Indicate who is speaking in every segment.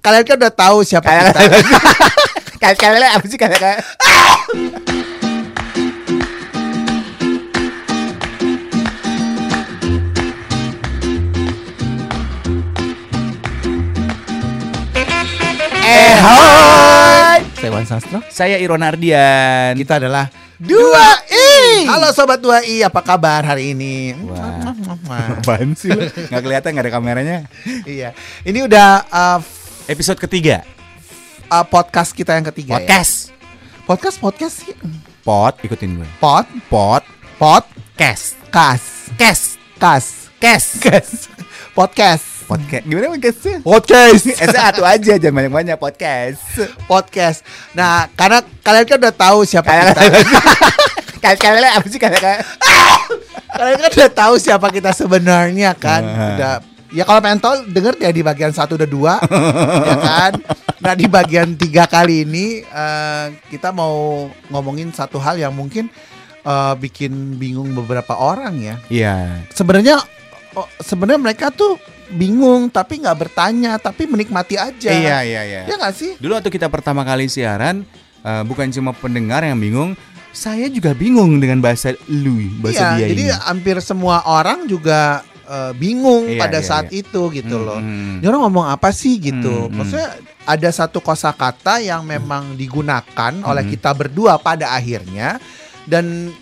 Speaker 1: kalian kan udah tahu siapa
Speaker 2: Kayak-
Speaker 1: kita.
Speaker 2: kayak kayak apa sih Eh, kayak kayak
Speaker 1: Eh, hai.
Speaker 3: Saya Wan Sastro.
Speaker 2: saya Iron Ardian
Speaker 1: Kita adalah Dua I. Halo sobat Dua I, apa kabar hari ini?
Speaker 2: Wah.
Speaker 1: Wah,
Speaker 2: apaan sih lo nggak kelihatan nggak ada kameranya
Speaker 1: iya. Ini udah uh, f-
Speaker 2: episode ketiga
Speaker 1: uh, podcast kita yang ketiga. ya?
Speaker 2: podcast
Speaker 1: Podcast podcast sih.
Speaker 2: pot ikutin gue
Speaker 1: Pod
Speaker 2: pot
Speaker 1: pod
Speaker 2: cast
Speaker 1: kas
Speaker 2: cast
Speaker 1: kas
Speaker 2: cast
Speaker 1: kas podcast
Speaker 2: podcast gimana podcastnya
Speaker 1: podcast
Speaker 2: Esnya Eh, satu aja jangan banyak banyak podcast
Speaker 1: podcast. Nah, karena kalian kan udah tahu siapa
Speaker 2: kayak
Speaker 1: kita.
Speaker 2: kayak kayak apa sih kayak kayak
Speaker 1: Kalian kan udah tahu siapa kita sebenarnya kan.
Speaker 2: Nah.
Speaker 1: Udah Ya kalau pengen tahu denger ya di bagian satu udah dua ya kan. Nah di bagian tiga kali ini eh, kita mau ngomongin satu hal yang mungkin eh, bikin bingung beberapa orang ya.
Speaker 2: iya
Speaker 1: Sebenarnya oh, sebenarnya mereka tuh bingung tapi nggak bertanya tapi menikmati aja.
Speaker 2: iya iya iya
Speaker 1: Ya nggak sih?
Speaker 2: dulu waktu kita pertama kali siaran eh, bukan cuma pendengar yang bingung saya juga bingung dengan bahasa lu
Speaker 1: iya.
Speaker 2: bahasa dia
Speaker 1: jadi
Speaker 2: ini
Speaker 1: hampir semua orang juga eh, bingung
Speaker 2: Iya,
Speaker 1: pada
Speaker 2: iya,
Speaker 1: saat itu gitu
Speaker 2: Hmm,
Speaker 1: loh.
Speaker 2: hmm.
Speaker 1: Ini orang ngomong apa sih gitu?
Speaker 2: Hmm, hmm.
Speaker 1: Maksudnya ada satu kosakata yang memang digunakan oleh
Speaker 2: Hmm.
Speaker 1: kita berdua pada akhirnya dan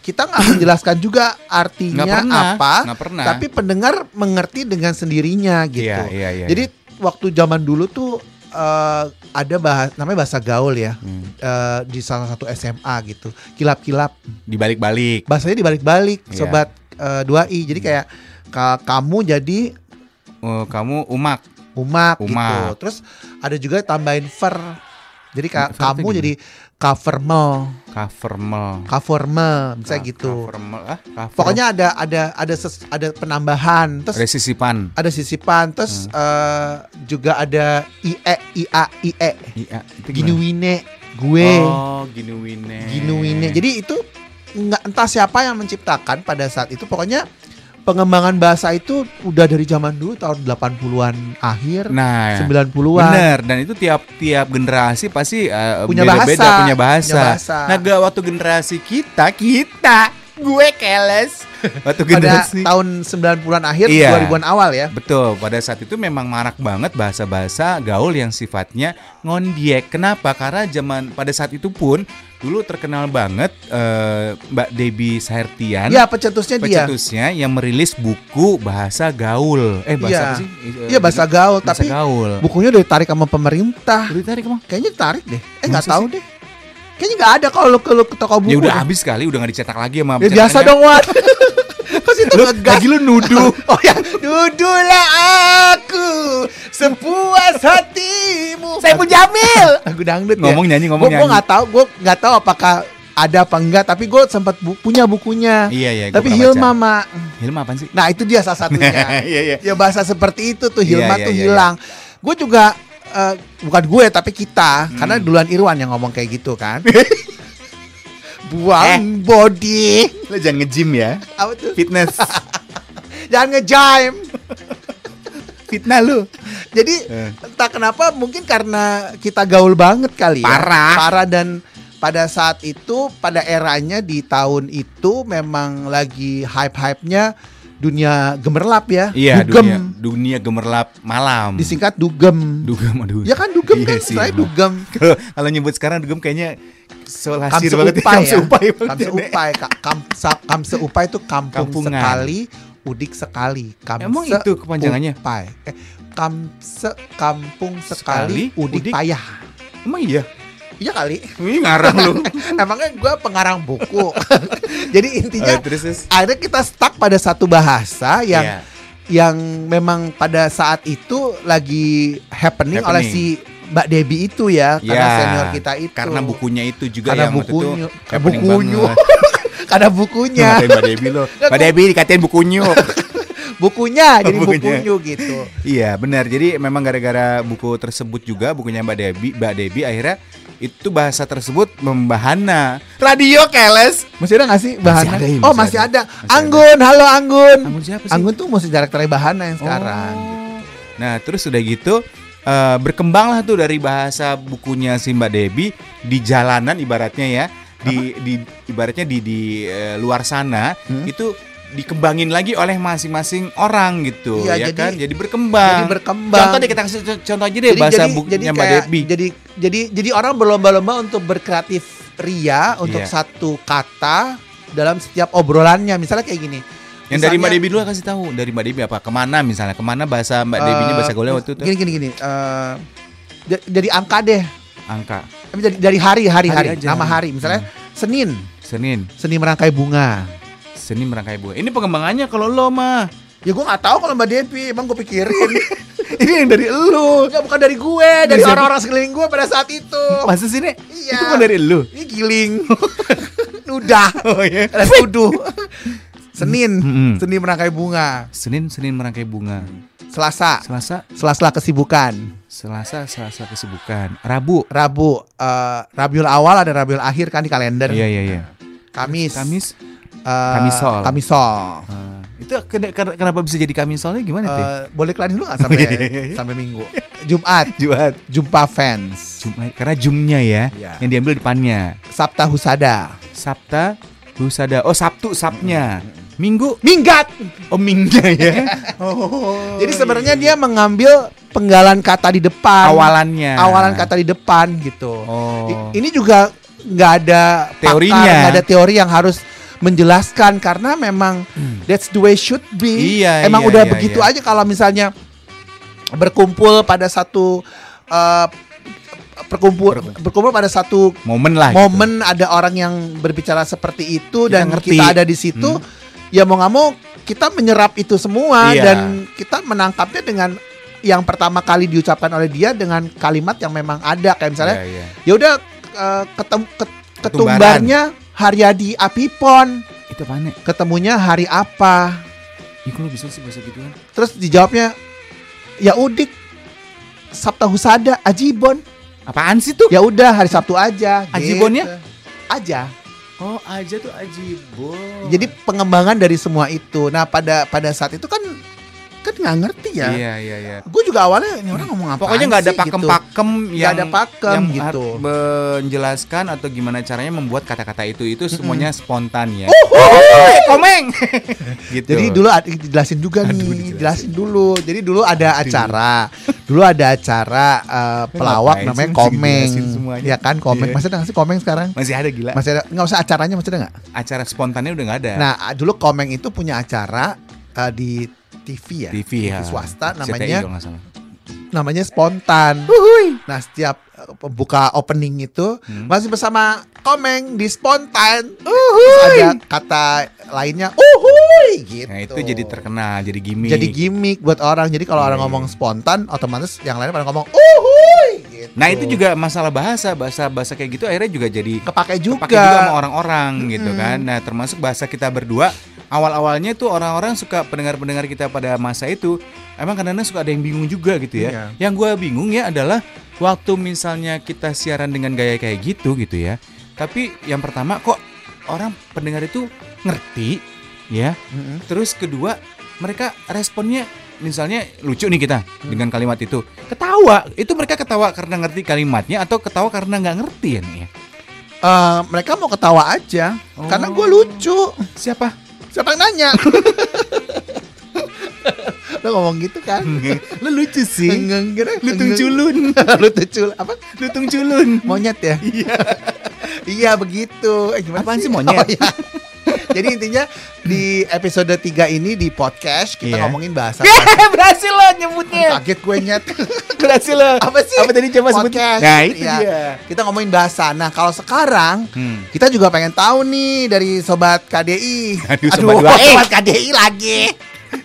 Speaker 1: kita nggak menjelaskan juga artinya
Speaker 2: nggak pernah
Speaker 1: iya, apa,
Speaker 2: nggak pernah
Speaker 1: tapi pendengar mengerti dengan sendirinya gitu.
Speaker 2: Iya, iya, iya,
Speaker 1: Jadi waktu zaman dulu tuh eh, ada bahas namanya bahasa gaul ya
Speaker 2: Hmm.
Speaker 1: eh, di salah satu SMA gitu kilap-kilap
Speaker 2: dibalik-balik.
Speaker 1: bahasanya dibalik-balik
Speaker 2: Iya. Hmm.
Speaker 1: sobat eh, dua i jadi kayak ka- kamu jadi
Speaker 2: Oh, kamu umak.
Speaker 1: umat, gitu.
Speaker 2: Umat.
Speaker 1: Terus ada juga tambahin ver. Jadi ka-
Speaker 2: Ver itu
Speaker 1: kamu
Speaker 2: gimana?
Speaker 1: jadi covermel,
Speaker 2: Covermel.
Speaker 1: covermel, misalnya
Speaker 2: Ka-
Speaker 1: gitu.
Speaker 2: covermel, ah, cover-
Speaker 1: Pokoknya ada ada ada ses- ada penambahan,
Speaker 2: ada
Speaker 1: terus
Speaker 2: sisipan.
Speaker 1: ada sisipan, terus
Speaker 2: Hmm.
Speaker 1: eh, juga ada E, ie ia ie,
Speaker 2: Iya, itu gimana?
Speaker 1: ginuine, gue,
Speaker 2: Oh, eh. ginuine.
Speaker 1: ginuine. Jadi itu nggak entah siapa yang menciptakan pada saat itu. Pokoknya pengembangan bahasa itu udah dari zaman dulu tahun 80-an akhir,
Speaker 2: nah,
Speaker 1: 90-an.
Speaker 2: bener dan itu tiap-tiap generasi pasti eh,
Speaker 1: Punya
Speaker 2: beda-beda,
Speaker 1: bahasa.
Speaker 2: punya bahasa.
Speaker 1: Punya bahasa.
Speaker 2: Nah, gak waktu generasi kita, kita gue keles. Waktu
Speaker 1: pada
Speaker 2: generasi
Speaker 1: tahun 90-an akhir
Speaker 2: Iya.
Speaker 1: 2000-an awal ya.
Speaker 2: Betul, pada saat itu memang marak banget bahasa-bahasa gaul yang sifatnya ngondiek. Kenapa? Karena zaman pada saat itu pun dulu terkenal banget eh, Mbak Debbie Sahertian,
Speaker 1: Iya, pencetusnya dia.
Speaker 2: pecetusnya yang merilis buku bahasa gaul. Eh bahasa
Speaker 1: Iya.
Speaker 2: apa sih? Eh,
Speaker 1: Iya bahasa gaul,
Speaker 2: bahasa
Speaker 1: tapi
Speaker 2: gaul.
Speaker 1: bukunya udah ditarik sama pemerintah.
Speaker 2: Udah ditarik emang?
Speaker 1: Kayaknya ditarik deh. Eh nggak
Speaker 2: Masa
Speaker 1: tahu deh. Kayaknya nggak ada kalau lu ke, lu ke toko buku.
Speaker 2: Ya udah
Speaker 1: deh.
Speaker 2: habis kali, udah gak dicetak lagi sama
Speaker 1: Ya biasa
Speaker 2: pencetakannya.
Speaker 1: dong, Wan. Pas itu ngegas.
Speaker 2: Lagi lu nuduh.
Speaker 1: Oh ya, dudulah aku sepuas hatimu. Saya pun Jamil. Lagu dangdut ya.
Speaker 2: ngomong nyanyi ngomong
Speaker 1: Gua-
Speaker 2: nyanyi.
Speaker 1: Gua nggak tahu, gua nggak tahu apakah ada apa enggak, tapi gue sempat bu- punya bukunya.
Speaker 2: Iya iya. gua
Speaker 1: tapi
Speaker 2: pernah
Speaker 1: Hilma,
Speaker 2: baca.
Speaker 1: Mak.
Speaker 2: Hilma apaan sih?
Speaker 1: Nah, itu dia salah satunya.
Speaker 2: Iya iya.
Speaker 1: ya bahasa seperti itu tuh
Speaker 2: Iya,
Speaker 1: Hilma
Speaker 2: iya,
Speaker 1: tuh
Speaker 2: iya,
Speaker 1: hilang. Gue juga eh, bukan gue tapi kita
Speaker 2: Hmm.
Speaker 1: karena duluan Irwan yang ngomong kayak gitu kan.
Speaker 2: Eh.
Speaker 1: Buang body
Speaker 2: Lo jangan nge-gym ya.
Speaker 1: apa tuh?
Speaker 2: Fitness.
Speaker 1: Jangan ngejime.
Speaker 2: Fitnah lu.
Speaker 1: Jadi
Speaker 2: Eh.
Speaker 1: entah kenapa mungkin karena kita gaul banget kali ya.
Speaker 2: Parah.
Speaker 1: Parah dan pada saat itu pada eranya di tahun itu memang lagi hype-hype-nya dunia gemerlap ya.
Speaker 2: Iya, dunia,
Speaker 1: dugem.
Speaker 2: dunia gemerlap malam.
Speaker 1: Disingkat dugem.
Speaker 2: Hmm. dugem aduh.
Speaker 1: ya kan dugem
Speaker 2: Iya
Speaker 1: kan
Speaker 2: sih,
Speaker 1: istilahnya
Speaker 2: emang.
Speaker 1: dugem.
Speaker 2: Kalau kalau nyebut sekarang dugem kayaknya solasir
Speaker 1: Kamse
Speaker 2: banget.
Speaker 1: Upai
Speaker 2: Kamse
Speaker 1: ya.
Speaker 2: upai banget
Speaker 1: Kamse
Speaker 2: ya, Nek.
Speaker 1: Upai, Ka- kam- sa- Kamse Upai itu kampung
Speaker 2: Kampungan.
Speaker 1: sekali, udik sekali. Kamse
Speaker 2: Emang itu kepanjangannya?
Speaker 1: Upai. Eh, kamse kampung sekali,
Speaker 2: Sekali,
Speaker 1: udik,
Speaker 2: udik.
Speaker 1: payah.
Speaker 2: Emang iya.
Speaker 1: Iya kali.
Speaker 2: Ini ngarang lu.
Speaker 1: Emangnya gue pengarang buku. Jadi intinya
Speaker 2: Eh, terus terus.
Speaker 1: akhirnya kita stuck pada satu bahasa yang
Speaker 2: Iya.
Speaker 1: yang memang pada saat itu lagi happening,
Speaker 2: Happening.
Speaker 1: oleh si Mbak Debbie itu ya, karena
Speaker 2: Ya,
Speaker 1: senior kita itu.
Speaker 2: karena bukunya itu juga
Speaker 1: karena
Speaker 2: yang waktu
Speaker 1: bukunya,
Speaker 2: itu
Speaker 1: karena
Speaker 2: ya, happening
Speaker 1: bukunya,
Speaker 2: banget.
Speaker 1: karena bukunya,
Speaker 2: Ngatain Mbak Debi lo. Mbak Debi dikatain bukunya.
Speaker 1: bukunya, jadi
Speaker 2: Bukunya.
Speaker 1: bukunya gitu.
Speaker 2: Iya benar. Jadi memang gara-gara buku tersebut juga bukunya Mbak Debi, Mbak Debi akhirnya itu bahasa tersebut membahana. Radio keles.
Speaker 1: Masih ada gak sih Bahana?
Speaker 2: ada ya,
Speaker 1: oh masih
Speaker 2: masih
Speaker 1: ada.
Speaker 2: ada. Masih ada.
Speaker 1: Anggun, halo Anggun.
Speaker 2: Anggun siapa sih?
Speaker 1: Anggun tuh musik direkturnya Bahana yang sekarang.
Speaker 2: Oh. Nah terus udah gitu eh, berkembanglah tuh dari bahasa bukunya si Mbak Debbie di jalanan ibaratnya ya di, di ibaratnya di di eh, luar sana
Speaker 1: Hmm.
Speaker 2: itu dikembangin lagi oleh masing-masing orang gitu
Speaker 1: Iya,
Speaker 2: ya
Speaker 1: jadi-
Speaker 2: kan jadi berkembang.
Speaker 1: jadi berkembang.
Speaker 2: Contoh deh kita kasih co- contoh aja deh bahasa bukunya Mbak
Speaker 1: kayak-
Speaker 2: Debbie.
Speaker 1: Jadi jadi jadi orang berlomba-lomba untuk berkreatif ria untuk
Speaker 2: Iya.
Speaker 1: satu kata dalam setiap obrolannya. Misalnya kayak gini.
Speaker 2: Yang dari Mbak
Speaker 1: misalnya-
Speaker 2: Debbie dulu kan kasih tahu dari Mbak Debbie apa kemana misalnya kemana bahasa Mbak
Speaker 1: Eh,
Speaker 2: Debbie-nya bahasa gaulnya waktu itu
Speaker 1: Gini gini gini. eh, j- jadi angka deh.
Speaker 2: angka
Speaker 1: Tapi Jadi dari hari hari Hmm. hari,
Speaker 2: Hari aja.
Speaker 1: nama hari misalnya Senin,
Speaker 2: Senin
Speaker 1: Senin merangkai bunga.
Speaker 2: Senin merangkai buah. Ini pengembangannya kalau lo mah
Speaker 1: Ya gue gak tahu kalau Mbak Devi, emang gue pikirin. Ini yang dari elu, Nggak, bukan dari gue, dari
Speaker 2: Bisa-
Speaker 1: orang-orang sekeliling gue pada saat itu.
Speaker 2: masa sini
Speaker 1: Iya.
Speaker 2: itu bukan dari lo.
Speaker 1: Ini giling. Nudah.
Speaker 2: Oh iya.
Speaker 1: Ada kudu. Senin,
Speaker 2: Mm-mm.
Speaker 1: Senin merangkai bunga.
Speaker 2: Senin Senin merangkai bunga.
Speaker 1: Selasa,
Speaker 2: Selasa
Speaker 1: Selasa kesibukan.
Speaker 2: Selasa Selasa kesibukan. Rabu.
Speaker 1: Rabu, eh, Rabiul awal ada Rabiul akhir kan di kalender.
Speaker 2: Iya iya iya.
Speaker 1: Kamis,
Speaker 2: Kamis.
Speaker 1: eh,
Speaker 2: Kamisol.
Speaker 1: Kamisol.
Speaker 2: Ah, itu ken- ken- kenapa bisa jadi Kamisolnya gimana tuh?
Speaker 1: Eh, boleh kelarin dulu nggak sampai sampai minggu. iya, Jumat,
Speaker 2: Jumat.
Speaker 1: jumpa fans.
Speaker 2: Jumat karena jumnya ya
Speaker 1: Iya.
Speaker 2: yang diambil depannya.
Speaker 1: Sabta Husada.
Speaker 2: Sabta Husada. Oh Sabtu Sabnya. Minggu
Speaker 1: Minggat.
Speaker 2: Oh Mingnya ya.
Speaker 1: Jadi sebenarnya dia mengambil penggalan kata di depan.
Speaker 2: awalannya.
Speaker 1: awalan kata di depan gitu.
Speaker 2: Oh.
Speaker 1: I- Ini juga nggak ada pakar,
Speaker 2: Teorinya.
Speaker 1: nggak ada teori yang harus menjelaskan karena memang that's the way should be.
Speaker 2: Hmm. Iya,
Speaker 1: Emang
Speaker 2: iya,
Speaker 1: udah
Speaker 2: iya,
Speaker 1: begitu
Speaker 2: iya.
Speaker 1: aja kalau misalnya berkumpul pada satu eh, perkumpul berkumpul pada satu
Speaker 2: Momen lah. gitu.
Speaker 1: momen ada orang yang berbicara seperti itu
Speaker 2: Kita
Speaker 1: dan
Speaker 2: ngerti. Hmm.
Speaker 1: kita ada di situ ya mau nggak mau kita menyerap itu semua
Speaker 2: Iya.
Speaker 1: dan kita menangkapnya dengan yang pertama kali diucapkan oleh dia dengan kalimat yang memang ada kayak misalnya
Speaker 2: Iya, iya.
Speaker 1: ya udah eh, ketem- ket-
Speaker 2: Ketumbaran.
Speaker 1: ketumbarnya Haryadi Apipon
Speaker 2: Itu panik.
Speaker 1: ketemunya hari apa
Speaker 2: Ih, kok lo bisa sih bahasa gituan?
Speaker 1: terus dijawabnya ya udik Sabta Husada Ajibon
Speaker 2: Apaan sih tuh?
Speaker 1: ya udah hari Sabtu aja
Speaker 2: Ajibonnya?
Speaker 1: gitu. aja
Speaker 2: Oh, aja tuh ajibon.
Speaker 1: Jadi pengembangan dari semua itu. Nah pada pada saat itu kan kan nggak ngerti ya.
Speaker 2: Iya, iya, iya.
Speaker 1: Gue juga awalnya ini orang ngomong apa?
Speaker 2: Pokoknya nggak ada pakem-pakem
Speaker 1: Nggak
Speaker 2: yang
Speaker 1: ada pakem
Speaker 2: yang
Speaker 1: gitu.
Speaker 2: har- menjelaskan atau gimana caranya membuat kata-kata itu itu semuanya spontan ya. komeng. gitu.
Speaker 1: Uhuh. Jadi dulu ad- dijelasin juga
Speaker 2: Aduh,
Speaker 1: nih,
Speaker 2: dijelasin.
Speaker 1: jelasin. dulu. Jadi dulu ada acara, dulu ada acara eh, pelawak
Speaker 2: Ngapain
Speaker 1: namanya
Speaker 2: sih mesti
Speaker 1: Komeng,
Speaker 2: dijelasin semuanya?
Speaker 1: ya kan Komeng.
Speaker 2: Iya. Eh.
Speaker 1: Masih ada nggak sih Komeng sekarang?
Speaker 2: masih ada gila.
Speaker 1: Masih ada nggak usah acaranya masih ada nggak?
Speaker 2: Acara spontannya udah nggak ada.
Speaker 1: Nah a- dulu Komeng itu punya acara eh, di TV ya,
Speaker 2: TV ya.
Speaker 1: swasta
Speaker 2: CTI
Speaker 1: namanya
Speaker 2: kalau nggak salah.
Speaker 1: namanya spontan. Nah setiap eh, pembuka opening itu
Speaker 2: Hmm.
Speaker 1: masih bersama Komeng di spontan. Terus ada kata lainnya uhuy gitu.
Speaker 2: Nah, itu jadi terkenal, jadi gimmick.
Speaker 1: Jadi gitu. gimmick buat orang. Jadi kalau orang
Speaker 2: Iya.
Speaker 1: ngomong spontan otomatis yang lain pada ngomong uhuy gitu.
Speaker 2: Nah, itu juga masalah bahasa, bahasa-bahasa kayak gitu akhirnya juga jadi
Speaker 1: kepake juga.
Speaker 2: pakai juga sama orang-orang gitu
Speaker 1: Mm-mm.
Speaker 2: kan. Nah, termasuk bahasa kita berdua awal-awalnya tuh orang-orang suka pendengar-pendengar kita pada masa itu emang kadang-kadang suka ada yang bingung juga gitu
Speaker 1: Iya.
Speaker 2: ya. Yang gua bingung ya adalah waktu misalnya kita siaran dengan gaya kayak gitu gitu ya. Tapi yang pertama kok orang pendengar itu ngerti ya.
Speaker 1: Mm-mm.
Speaker 2: Terus kedua mereka responnya misalnya lucu nih kita dengan kalimat itu ketawa itu mereka ketawa karena ngerti kalimatnya atau ketawa karena nggak ngerti ya nih ya
Speaker 1: Eh, mereka mau ketawa aja karena
Speaker 2: Oh.
Speaker 1: gue lucu.
Speaker 2: siapa
Speaker 1: Siapa yang nanya? Lo ngomong gitu kan?
Speaker 2: lu lucu sih
Speaker 1: Ngeng gitu.
Speaker 2: lutung Hmm. culun
Speaker 1: Lu tucul apa?
Speaker 2: lutung culun
Speaker 1: Monyet ya? Iya. iya begitu. Eh, gimana
Speaker 2: Apaan sih monyet?
Speaker 1: Oh, iya. Jadi intinya di episode 3 ini di podcast kita
Speaker 2: Iya.
Speaker 1: ngomongin bahasa.
Speaker 2: berhasil lo nyebutnya
Speaker 1: Kaget gue nyet.
Speaker 2: berhasil lo
Speaker 1: Apa sih?
Speaker 2: apa tadi coba sebut
Speaker 1: Podcast.
Speaker 2: nah itu
Speaker 1: Iya.
Speaker 2: dia
Speaker 1: Kita ngomongin bahasa. Nah, kalau sekarang
Speaker 2: hmm.
Speaker 1: kita juga pengen tahu nih dari sobat KDI.
Speaker 2: Aduh, Sobat 2i.
Speaker 1: sobat KDI lagi.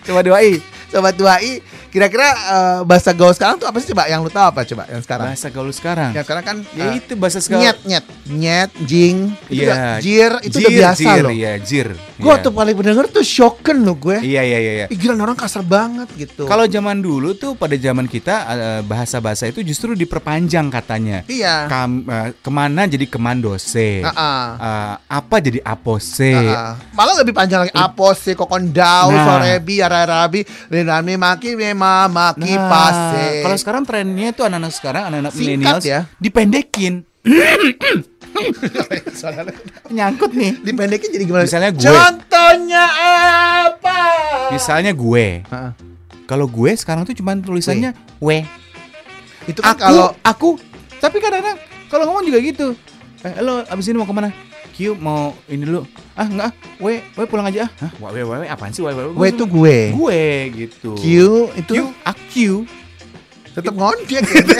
Speaker 2: coba doai
Speaker 1: Sobat 2i, kira-kira eh, bahasa gaul sekarang tuh apa sih coba? Yang lu tahu apa coba yang sekarang?
Speaker 2: bahasa gaul sekarang
Speaker 1: Yang sekarang kan
Speaker 2: ya
Speaker 1: eh,
Speaker 2: itu bahasa sekarang
Speaker 1: nyet nyet nyet jing itu
Speaker 2: Iya.
Speaker 1: udah- jir itu udah biasa
Speaker 2: jir,
Speaker 1: loh
Speaker 2: iya jir
Speaker 1: gue
Speaker 2: Iya.
Speaker 1: tuh paling bener tuh shocken loh gue
Speaker 2: iya iya iya, iya.
Speaker 1: Ih, gila orang kasar banget gitu
Speaker 2: Kalau zaman dulu tuh pada zaman kita eh, bahasa-bahasa itu justru diperpanjang katanya.
Speaker 1: iya
Speaker 2: Kam- eh, kemana jadi kemandose.
Speaker 1: Heeh.
Speaker 2: Eh, apa jadi apose.
Speaker 1: Ah, Heeh. malah lebih panjang lagi apos si kokon dau
Speaker 2: Iya. Nah.
Speaker 1: sorebi arabi Ini nami maki mema maki
Speaker 2: Nah,
Speaker 1: pase.
Speaker 2: Kalau sekarang trennya tuh anak-anak sekarang, anak-anak
Speaker 1: Singkat
Speaker 2: milenial
Speaker 1: ya.
Speaker 2: dipendekin.
Speaker 1: Soalnya
Speaker 2: Nyangkut nih.
Speaker 1: dipendekin jadi gimana?
Speaker 2: Misalnya gue.
Speaker 1: Contohnya apa?
Speaker 2: Misalnya gue.
Speaker 1: Heeh.
Speaker 2: Kalau gue sekarang tuh cuman tulisannya we.
Speaker 1: Itu kan
Speaker 2: Aku
Speaker 1: kalau
Speaker 2: aku. Tapi kadang-kadang kalau ngomong juga gitu. Eh, lo abis ini mau kemana? Q mau ini dulu. Ah enggak, ah. we, we pulang aja ah. Hah, we, we, we, apaan sih we, we,
Speaker 1: gue itu gue.
Speaker 2: gue gitu.
Speaker 1: Q itu ya,
Speaker 2: Q, aku.
Speaker 1: tetap ngondek. kayaknya.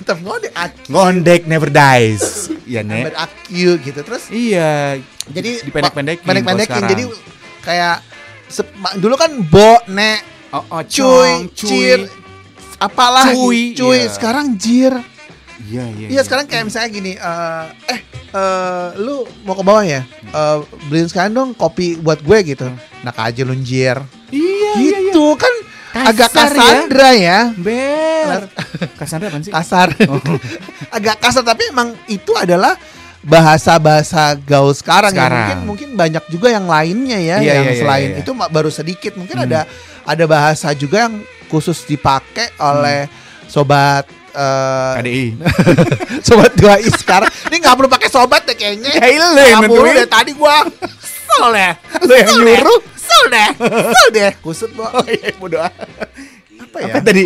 Speaker 1: tetap ngondek.
Speaker 2: Eh.
Speaker 1: Ak-
Speaker 2: Ngondek never dies. Iya, Nek.
Speaker 1: Ak- Q gitu terus.
Speaker 2: Iya.
Speaker 1: Jadi
Speaker 2: dipendek-pendekin. kalau
Speaker 1: pendek-pendekin.
Speaker 2: sekarang.
Speaker 1: Jadi kayak sep- ma- dulu kan bo ne
Speaker 2: oh, oh,
Speaker 1: cuy,
Speaker 2: cong,
Speaker 1: cir, apalah
Speaker 2: Cuy,
Speaker 1: gitu. cuy.
Speaker 2: iya.
Speaker 1: Sekarang jir.
Speaker 2: Iya, iya.
Speaker 1: Iya sekarang kayak misalnya gini, eh, eh eh, lu mau ke bawah ya? Eh, beliin sekarang dong kopi buat gue gitu. Nah aja lu njir.
Speaker 2: Iya, iya, iya.
Speaker 1: gitu kan
Speaker 2: Kasar
Speaker 1: agak
Speaker 2: ya.
Speaker 1: Cassandra ya.
Speaker 2: Ber. Kasandra apaan sih?
Speaker 1: Kasar.
Speaker 2: Oh.
Speaker 1: agak kasar tapi emang itu adalah bahasa-bahasa gaul sekarang, ya.
Speaker 2: Sekarang.
Speaker 1: mungkin mungkin banyak juga yang lainnya ya
Speaker 2: Iya,
Speaker 1: yang
Speaker 2: iya, iya,
Speaker 1: selain
Speaker 2: iya.
Speaker 1: itu ma- baru sedikit mungkin
Speaker 2: Hmm.
Speaker 1: ada ada bahasa juga yang khusus dipakai oleh
Speaker 2: Hmm.
Speaker 1: sobat eh,
Speaker 2: KDI.
Speaker 1: sobat dua i sekarang ini nggak perlu pakai sobat deh kayaknya
Speaker 2: Ya, iya, lu yang
Speaker 1: Nggak perlu
Speaker 2: nentuin.
Speaker 1: deh tadi gua kesel deh
Speaker 2: Lu yang
Speaker 1: Kesel deh.
Speaker 2: nyuruh. Oh, iya,
Speaker 1: kesel deh kesel deh kusut gua
Speaker 2: Bodoh.
Speaker 1: apa ya
Speaker 2: Apa tadi?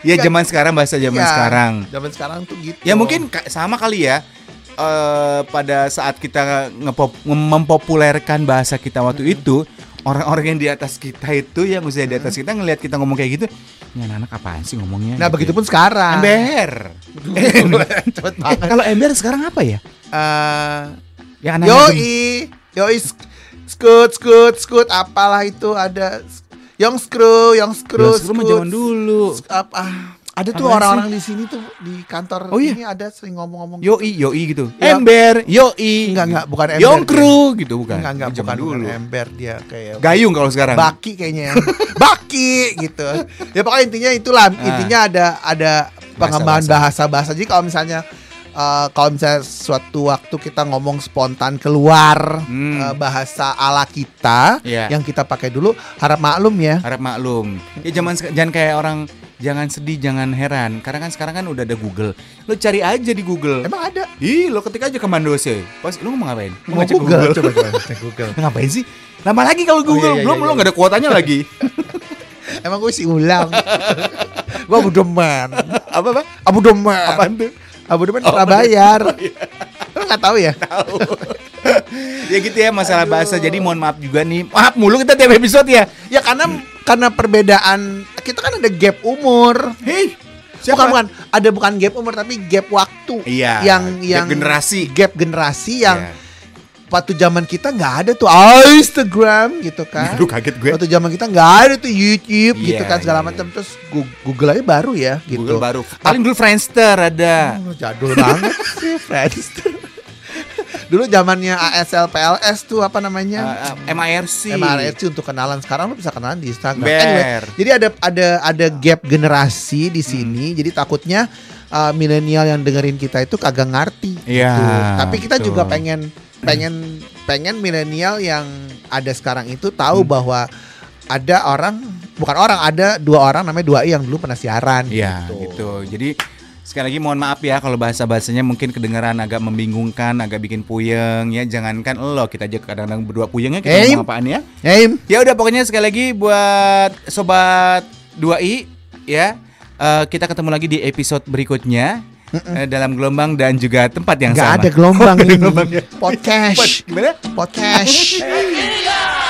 Speaker 2: Ya
Speaker 1: Iya.
Speaker 2: zaman sekarang bahasa zaman
Speaker 1: Iya,
Speaker 2: sekarang.
Speaker 1: zaman sekarang tuh gitu
Speaker 2: Ya mungkin ka- sama kali ya. eh pada saat kita ngepop, nge- mempopulerkan bahasa kita waktu itu, orang-orang yang di atas kita itu yang usia di atas kita ngelihat kita ngomong kayak gitu, ini anak-anak apaan sih ngomongnya?
Speaker 1: nah
Speaker 2: Gitu.
Speaker 1: begitupun sekarang
Speaker 2: ember.
Speaker 1: cepet
Speaker 2: Eh,
Speaker 1: banget
Speaker 2: kalau ember sekarang apa ya?
Speaker 1: Eh,
Speaker 2: Yang
Speaker 1: yoi yoi sk- skut skut skut apalah itu ada yang screw yang screw
Speaker 2: Terus mah zaman dulu.
Speaker 1: ah. apa ada tuh
Speaker 2: Apaan
Speaker 1: orang-orang di sini tuh di kantor
Speaker 2: Oh, iya.
Speaker 1: ini ada sering ngomong-ngomong gitu.
Speaker 2: Yoi, yoi gitu.
Speaker 1: Ya.
Speaker 2: Ember, yoi.
Speaker 1: Enggak, enggak, bukan ember. ya.
Speaker 2: Yongkru gitu bukan.
Speaker 1: Enggak, enggak, bukan,
Speaker 2: Zaman
Speaker 1: bukan
Speaker 2: dulu.
Speaker 1: ember dia kayak
Speaker 2: Gayung kalau sekarang.
Speaker 1: baki kayaknya. ya. baki gitu. Ya pokoknya intinya itulah,
Speaker 2: Ah.
Speaker 1: intinya ada ada pengembangan bahasa-bahasa. Jadi kalau misalnya eh, kalau misalnya suatu waktu kita ngomong spontan keluar
Speaker 2: Hmm.
Speaker 1: eh, bahasa ala kita
Speaker 2: Iya.
Speaker 1: yang kita pakai dulu, harap maklum ya.
Speaker 2: Harap maklum. Ya zaman sek- jangan kayak orang jangan sedih, jangan heran. Karena kan sekarang kan udah ada Google. Lo cari aja di Google.
Speaker 1: Emang ada
Speaker 2: Ih, lo ketik aja komando C. Pas lo ngomong ngapain?
Speaker 1: mau
Speaker 2: ngecek
Speaker 1: Google. Coba coba cek Google.
Speaker 2: Ngapain sih? Lama lagi kalau Google,
Speaker 1: iya, iya,
Speaker 2: belum
Speaker 1: iya,
Speaker 2: lo
Speaker 1: iya.
Speaker 2: nggak ada kuotanya lagi.
Speaker 1: Emang gue sih ulang. gue abu demen.
Speaker 2: apa apa?
Speaker 1: Abu demen.
Speaker 2: Apaan tuh? Oh,
Speaker 1: Abu demen pernah bayar. Lo nggak tahu ya?
Speaker 2: ya gitu ya masalah bahasa. Jadi mohon maaf juga nih. Maaf mulu kita tiap episode ya.
Speaker 1: Ya karena karena perbedaan kita kan ada gap umur.
Speaker 2: Hei,
Speaker 1: Bukan bukan ada bukan gap umur tapi gap waktu.
Speaker 2: Iya,
Speaker 1: Yang
Speaker 2: gap
Speaker 1: yang
Speaker 2: generasi.
Speaker 1: Gap generasi yang
Speaker 2: Iya.
Speaker 1: waktu zaman kita nggak ada tuh Instagram gitu kan.
Speaker 2: Aduh kaget gue.
Speaker 1: Waktu zaman kita nggak ada tuh YouTube gitu
Speaker 2: Iya,
Speaker 1: kan segala
Speaker 2: iya,
Speaker 1: macam terus Gu- Google aja baru ya gitu.
Speaker 2: Google baru. Paling dulu Friendster ada.
Speaker 1: Oh, jadul banget sih Friendster. Dulu zamannya ASL PLS tuh apa namanya?
Speaker 2: Uh, MIRC.
Speaker 1: MRC untuk kenalan sekarang lu bisa kenalan di Instagram.
Speaker 2: Ber.
Speaker 1: jadi ada ada ada gap generasi di
Speaker 2: Hmm.
Speaker 1: sini. Jadi takutnya uh, milenial yang dengerin kita itu kagak ngerti.
Speaker 2: Iya,
Speaker 1: gitu. Tapi kita
Speaker 2: betul.
Speaker 1: juga pengen pengen pengen milenial yang ada sekarang itu tahu
Speaker 2: Hmm.
Speaker 1: bahwa ada orang bukan orang ada dua orang namanya dua i yang dulu pernah siaran.
Speaker 2: Iya, gitu. Jadi sekali lagi mohon maaf ya kalau bahasa-bahasanya mungkin kedengaran agak membingungkan, agak bikin puyeng ya. Jangankan lo, kita aja kadang-kadang berdua puyengnya kita
Speaker 1: Eh.
Speaker 2: ngomong apaan ya.
Speaker 1: Ya, Im?
Speaker 2: Ya udah pokoknya sekali lagi buat sobat 2i ya. eh, kita ketemu lagi di episode berikutnya eh, dalam gelombang dan juga tempat yang
Speaker 1: Nggak
Speaker 2: sama. ya.
Speaker 1: ada gelombang
Speaker 2: Nggak ada
Speaker 1: ini.
Speaker 2: gelombang ya.
Speaker 1: Podcast.
Speaker 2: Gimana?
Speaker 1: Podcast.